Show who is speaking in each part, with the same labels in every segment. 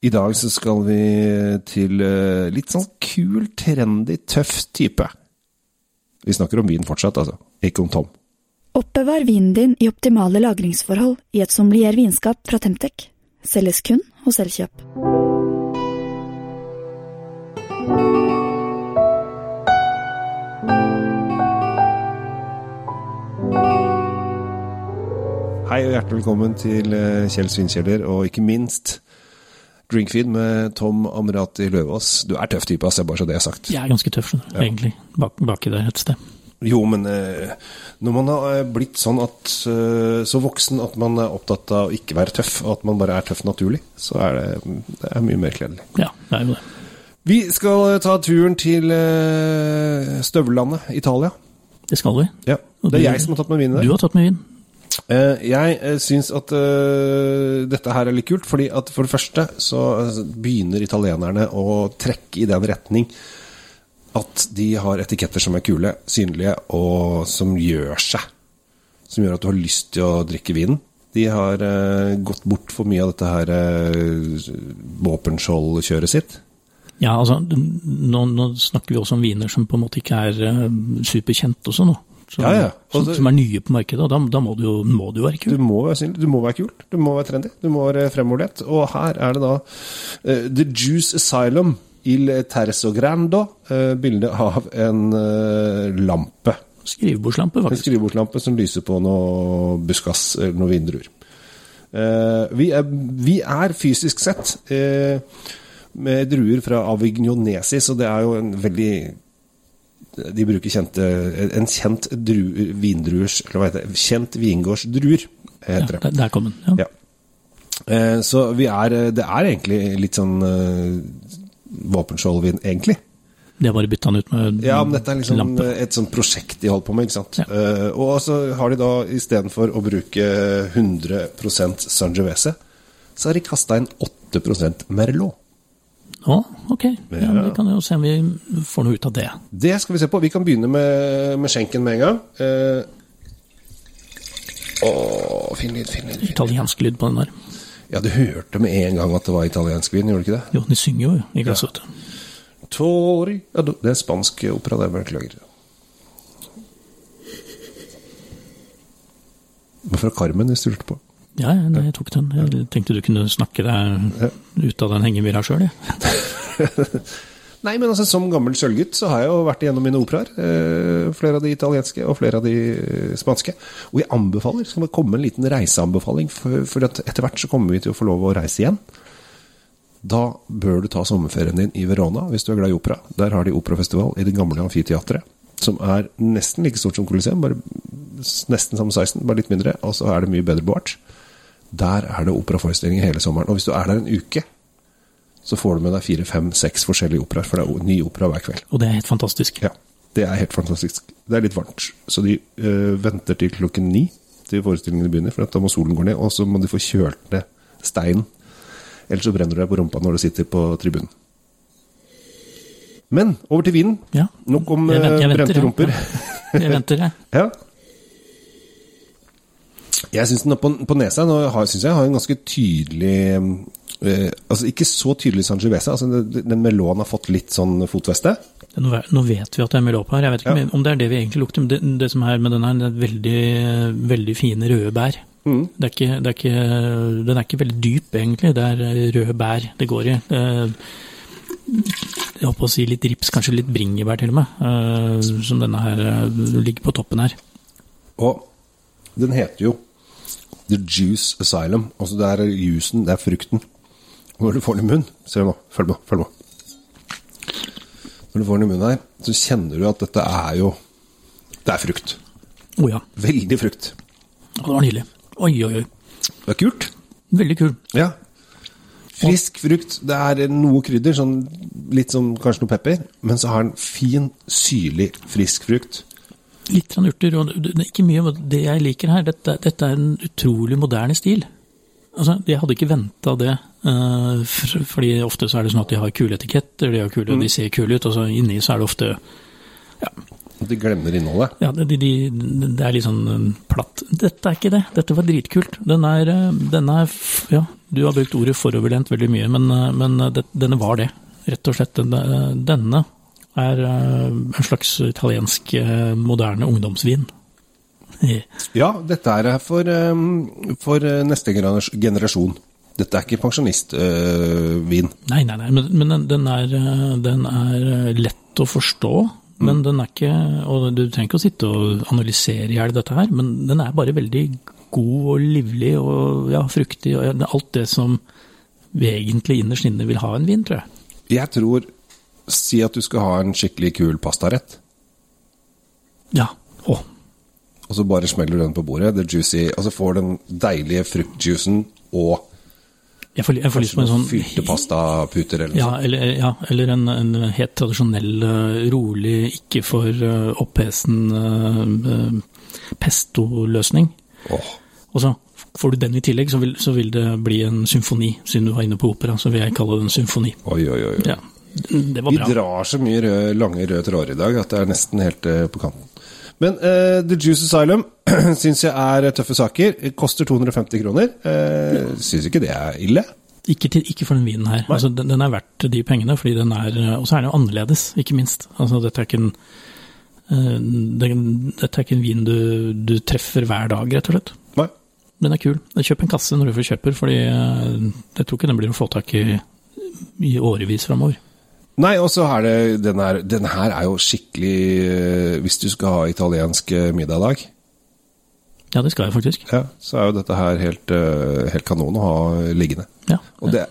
Speaker 1: I dag så skal vi til eh, litt sånn kul, trendy, tøff type. Vi snakker om vin fortsatt, altså. Ikke om Tom.
Speaker 2: Oppbevar vinen din i optimale lagringsforhold i et sommelier vinskap fra Temtec. Selges kun hos Elkjøp.
Speaker 1: Hei og hjertelig velkommen til eh, Kjell Svinkjeller, og ikke minst Drinkfeed med Tom Amrati Løvaas. Du er tøff type, ass, det er bare så det er sagt.
Speaker 3: Jeg er ganske tøff, skjønner du, egentlig, bak, baki der et sted.
Speaker 1: Jo, men eh, når man har eh, blitt sånn at eh, så voksen at man er opptatt av å ikke være tøff, og at man bare er tøff naturlig, så er det, det er mye mer kledelig.
Speaker 3: Ja, det er jo det.
Speaker 1: Vi skal eh, ta turen til eh, støvellandet Italia.
Speaker 3: Det skal vi.
Speaker 1: Ja,
Speaker 3: Og
Speaker 1: Det er
Speaker 3: du-
Speaker 1: jeg som har tatt med vinen
Speaker 3: Du
Speaker 1: der.
Speaker 3: har tatt med vin.
Speaker 1: Eh, jeg eh, syns at eh, dette her er litt kult, fordi at for det første så eh, begynner italienerne å trekke i den retning at de har etiketter som er kule, synlige, og som gjør seg. Som gjør at du har lyst til å drikke vinen. De har eh, gått bort for mye av dette her uh, våpenskjoldkjøret sitt.
Speaker 3: Ja, altså, nå, nå snakker vi også om viner som på en måte ikke er eh, superkjent også nå. Som,
Speaker 1: Ja, ja.
Speaker 3: Som,
Speaker 1: Altså-
Speaker 3: som er nye på markedet, og da, da må det jo, må det jo være
Speaker 1: Du
Speaker 3: kult.
Speaker 1: må være synlig, du må være kul, du må være trendy, du må være fremoverlent. Og her er det da eh, The Juice Asylum Il Terzo Grando. eh, bilde av en eh, lampe.
Speaker 3: Skrivebordslampe,
Speaker 1: En
Speaker 3: faktisk.
Speaker 1: skrivebordslampe som lyser på noe buskas eller noen vindruer. Eh, vi, er, vi er fysisk sett eh, med druer fra Avignonesis, og det er jo en veldig De bruker kjente, en kjent dru, vindruers Eller hva heter det? Kjent vingårds druer,
Speaker 3: Ja,
Speaker 1: heter det.
Speaker 3: der, der kom den. Ja.
Speaker 1: Ja. Eh, Så vi er eh, Det er egentlig litt sånn eh, våpenskjoldvin, egentlig.
Speaker 3: Det er bare bytta den ut med
Speaker 1: Ja, men dette er liksom
Speaker 3: lampe.
Speaker 1: eh, et sånt prosjekt de holder på med, ikke sant.
Speaker 3: Ja.
Speaker 1: Eh, Og så har de da istedenfor å bruke 100 Sangiovese, så har de kasta inn 8 Merlot.
Speaker 3: Å, ok. Ja, men Vi kan jo se om vi får noe ut av det.
Speaker 1: Det skal vi se på. Vi kan begynne med, med skjenken med en gang. Eh, Å, fin lyd, fin lyd. fin lyd.
Speaker 3: Italiensk lyd på den der.
Speaker 1: Ja, du hørte med en gang at det var italiensk vin, gjorde du ikke det?
Speaker 3: Jo, de synger jo i glasset, vet du.
Speaker 1: Tori ja, Det er en spansk opera, det. Beklager. Det var fra Carmen jeg stulte på.
Speaker 3: Ja, ja, nei, jeg tok den. Jeg tenkte du kunne snakke deg ut av den hengemyra sjøl, jeg.
Speaker 1: Nei, men altså, som gammel sølvgutt så har jeg jo vært igjennom mine operaer. Eh, flere av de italienske og flere av de eh, spanske. Og jeg anbefaler, skal det komme en liten reiseanbefaling, for, for at etter hvert så kommer vi til å få lov å reise igjen. Da bør du ta sommerferien din i Verona, hvis du er glad i opera. Der har de operafestival i det gamle amfiteatret, som er nesten like stort som Coliseum, bare s- nesten som 16, bare litt mindre, og så er det mye bedre bevart. Der er det operaforestillinger hele sommeren. Og hvis du er der en uke, så får du med deg fire, fem, seks forskjellige operaer, for det er o- ny opera hver kveld.
Speaker 3: Og det er helt fantastisk.
Speaker 1: Ja, Det er helt fantastisk. Det er litt varmt, så de øh, venter til klokken ni til forestillingene begynner, for at da må solen gå ned, og så må de få kjølt ned steinen. Ellers så brenner du deg på rumpa når du sitter på tribunen. Men over til vinen.
Speaker 3: Ja.
Speaker 1: Nok om
Speaker 3: Jeg vent-
Speaker 1: øh,
Speaker 3: jeg venter,
Speaker 1: brente
Speaker 3: ja.
Speaker 1: rumper.
Speaker 3: Jeg venter, jeg.
Speaker 1: Ja. Jeg syns den er på, på nesa nå har, synes jeg har en ganske tydelig eh, Altså ikke så tydelig Sangiovese. Altså, den, den melånen har fått litt sånn fotveste.
Speaker 3: Nå, ve- nå vet vi at det er Melop her, jeg vet ikke
Speaker 1: Ja.
Speaker 3: om det er det vi egentlig lukter. Men det, det som er med den her, det er veldig, veldig fine røde bær.
Speaker 1: Mm.
Speaker 3: Det er ikke, det er ikke, den er ikke veldig dyp, egentlig. Det er eh, røde bær det går i. Eh, Jeg holdt på å si litt rips, kanskje litt bringebær til og med, eh, som denne her eh, ligger på toppen her.
Speaker 1: Og den heter jo The Juice Asylum. Altså det er jusen, det er frukten. Og når du får den i munnen Se nå, følg med, følg med. Når du får den i munnen her, så kjenner du at dette er jo Det er frukt.
Speaker 3: Å ja,
Speaker 1: Veldig frukt.
Speaker 3: Å, det var nydelig. Oi, oi, oi.
Speaker 1: Det er kult.
Speaker 3: Veldig kul.
Speaker 1: Ja. Frisk frukt. Det er noe krydder, sånn, litt som kanskje noe pepper. Men så har den fin, syrlig, frisk frukt.
Speaker 3: Litt grann urter, og det det er ikke mye, men det jeg liker her, dette, dette er en utrolig moderne stil. Altså, jeg hadde ikke venta det, eh, for- fordi ofte så er det sånn at de har kule etiketter, de, har kule, de ser kule ut, og så inni så er det ofte
Speaker 1: at de glemmer innholdet.
Speaker 3: Ja, det de, de, det er litt sånn um, platt. Dette er ikke det, dette var dritkult. Den er, eh, den er f- Ja, du har brukt ordet foroverlent veldig mye, men, eh, men eh, det, denne var det. Rett og slett. Denne, denne er eh, en slags italiensk eh, moderne ungdomsvin. Eh,
Speaker 1: Ja, dette er for, eh, for eh, neste generas- generasjon. Dette er ikke eh, pensjonistvin.
Speaker 3: Nei, nei, nei, men, men den, den, er, eh, den er eh, lett å forstå. Men den er ikke Og du trenger ikke å sitte og analysere i hjel dette her, men den er bare veldig god og livlig og ja, fruktig. Og ja, det er alt det som vi egentlig innerst inne vil ha en vin, tror jeg.
Speaker 1: Jeg tror Si at du skal ha en skikkelig kul pastarett,
Speaker 3: Ja. Å,
Speaker 1: og så bare smeller du den på bordet. Det er juicy, og så får du den deilige fruktjuicen og
Speaker 3: jeg får, jeg får lyst på en
Speaker 1: noen
Speaker 3: sånn
Speaker 1: fylte pastaputer eller noe
Speaker 3: Ja, eller, ja, eller en, en helt tradisjonell, eh, rolig, ikke for eh, opphesen eh, eh, pesto-løsning.
Speaker 1: sånt. Åh.
Speaker 3: Og så får du den i tillegg, så vil, så vil det bli en symfoni. Siden du var inne på opera, så vil jeg kalle det en symfoni.
Speaker 1: Oi, oi, oi. oi.
Speaker 3: Ja, det var
Speaker 1: Vi
Speaker 3: bra.
Speaker 1: drar så mye rød, lange røde tråder i dag at det er nesten helt eh, på kanten. Men eh, The Juice Asylum syns jeg er eh, tøffe saker. Koster 250 kroner. Uh, Syns ikke det er ille.
Speaker 3: Ikke, til, ikke for den vinen her. Altså, den, den er verdt de pengene, fordi den er eh, Og så er den jo annerledes, ikke minst. Altså, dette er ikke en eh, den- dette er ikke en vin du, du treffer hver dag, rett og slett.
Speaker 1: Nei.
Speaker 3: Den er kul. Kjøp en kasse når du først kjøper, fordi eh, jeg tror ikke den blir å få tak i i årevis framover.
Speaker 1: Nei, og så er det den her, den her er jo skikkelig eh, Hvis du skal ha italiensk eh, middag i dag,
Speaker 3: Ja, det skal jeg faktisk.
Speaker 1: ja, så er jo dette her helt, eh, helt kanon å ha liggende.
Speaker 3: Ja.
Speaker 1: Og det,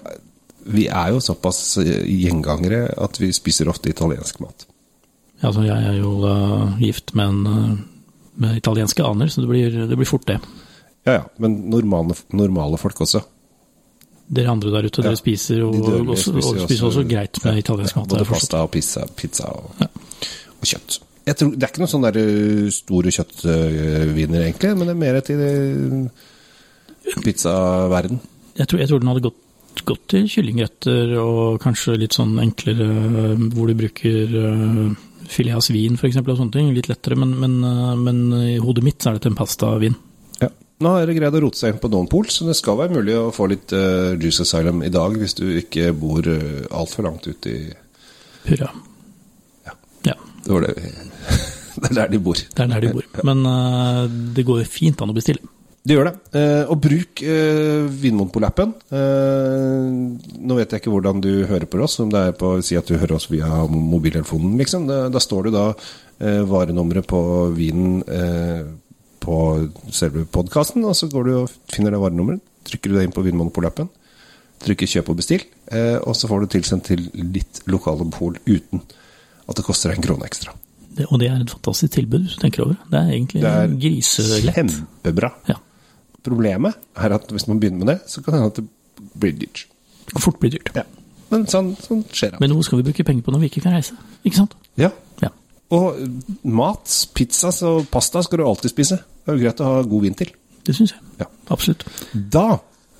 Speaker 1: vi er jo såpass eh, gjengangere at vi spiser ofte italiensk mat.
Speaker 3: Ja, altså, jeg er jo da gift med en eh, med italienske aner, så det blir, det blir fort det.
Speaker 1: Ja ja, men normale, normale folk også.
Speaker 3: Dere andre der ute,
Speaker 1: Ja.
Speaker 3: dere spiser og,
Speaker 1: De
Speaker 3: og,
Speaker 1: dødelige
Speaker 3: og, spiser, også greit med italiensk mat.
Speaker 1: Både
Speaker 3: har jeg forstått.
Speaker 1: pasta og pizza, pizza og, og kjøtt. Jeg tror, det er ikke noen sånne der ø, store kjøttviner, egentlig, men det er mer til ø, pizzaverden.
Speaker 3: Jeg tror, jeg tror den hadde gått, gått til kyllingretter og kanskje litt sånn enklere, eh, hvor du bruker eh, filet av svin f.eks. og sånne ting. Litt lettere, men, men, eh, men i hodet mitt så er dette en pastavin.
Speaker 1: Ja. Nå har dere greid å rote seg inn på noen pol, så det skal være mulig å få litt ø, Juice Asylum i dag, hvis du ikke bor ø, altfor langt ut i
Speaker 3: Hurra.
Speaker 1: Ja.
Speaker 3: Ja,
Speaker 1: Det var det vi Det er der de bor.
Speaker 3: det er der de bor. Men eh, det går fint an å bestille.
Speaker 1: Det gjør det. Eh, og bruk eh, Vinmonopol-appen. Eh, nå vet jeg ikke hvordan du hører på oss, om det er på si at du hører oss via mobiltelefonen, liksom. Da, da står det da eh, varenummeret på vinen eh, på selve podkasten, og så går du og finner det varenummeret, trykker du det inn på Vinmonopol-appen, trykker 'kjøp og bestill', eh, og så får du tilsendt til ditt lokale pol uten at det koster deg en krone ekstra.
Speaker 3: Det, og det er et fantastisk tilbud, hvis du tenker over det. Det er egentlig
Speaker 1: Det er
Speaker 3: griselett.
Speaker 1: Kjempebra.
Speaker 3: Ja.
Speaker 1: Problemet er at hvis man begynner med det, så kan det hende at det blir dyrt.
Speaker 3: Det kan fort bli dyrt.
Speaker 1: Ja. Men sånn, sånn skjer det.
Speaker 3: Men noe skal vi bruke penger på når vi ikke kan reise? Ikke sant?
Speaker 1: Ja.
Speaker 3: Ja.
Speaker 1: Og eh, mat, pizza og pasta skal du alltid spise. Det er jo greit å ha god vin til.
Speaker 3: Det syns jeg.
Speaker 1: Ja.
Speaker 3: Absolutt.
Speaker 1: Da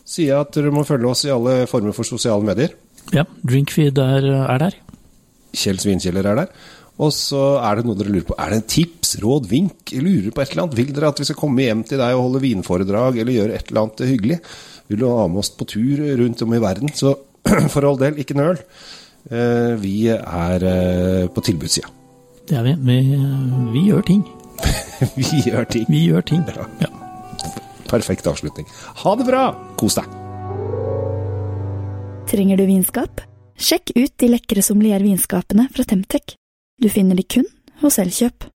Speaker 1: sier jeg at dere må følge oss i alle former for sosiale medier.
Speaker 3: Ja, Drinkfeed er, er der.
Speaker 1: Kjell Svinkjeller er der. Og så er det noe dere lurer på. Er det en tips, råd, vink? Lurer på et eller annet? Vil dere at vi skal komme hjem til deg og holde vinforedrag, eller gjøre et eller annet hyggelig? Vil du ha med oss på tur rundt om i verden? Så for all del, ikke nøl. Eh, Vi er eh, på tilbudssida.
Speaker 3: Det er vi. Vi, vi gjør ting.
Speaker 1: Vi gjør ting.
Speaker 3: Vi gjør ting.
Speaker 1: Ja.
Speaker 3: Ja.
Speaker 1: Perfekt avslutning. Ha det bra! Kos deg!
Speaker 2: Trenger du vinskap? Sjekk ut de lekre sommelier-vinskapene fra Temtec. Du finner de kun hos Elkjøp.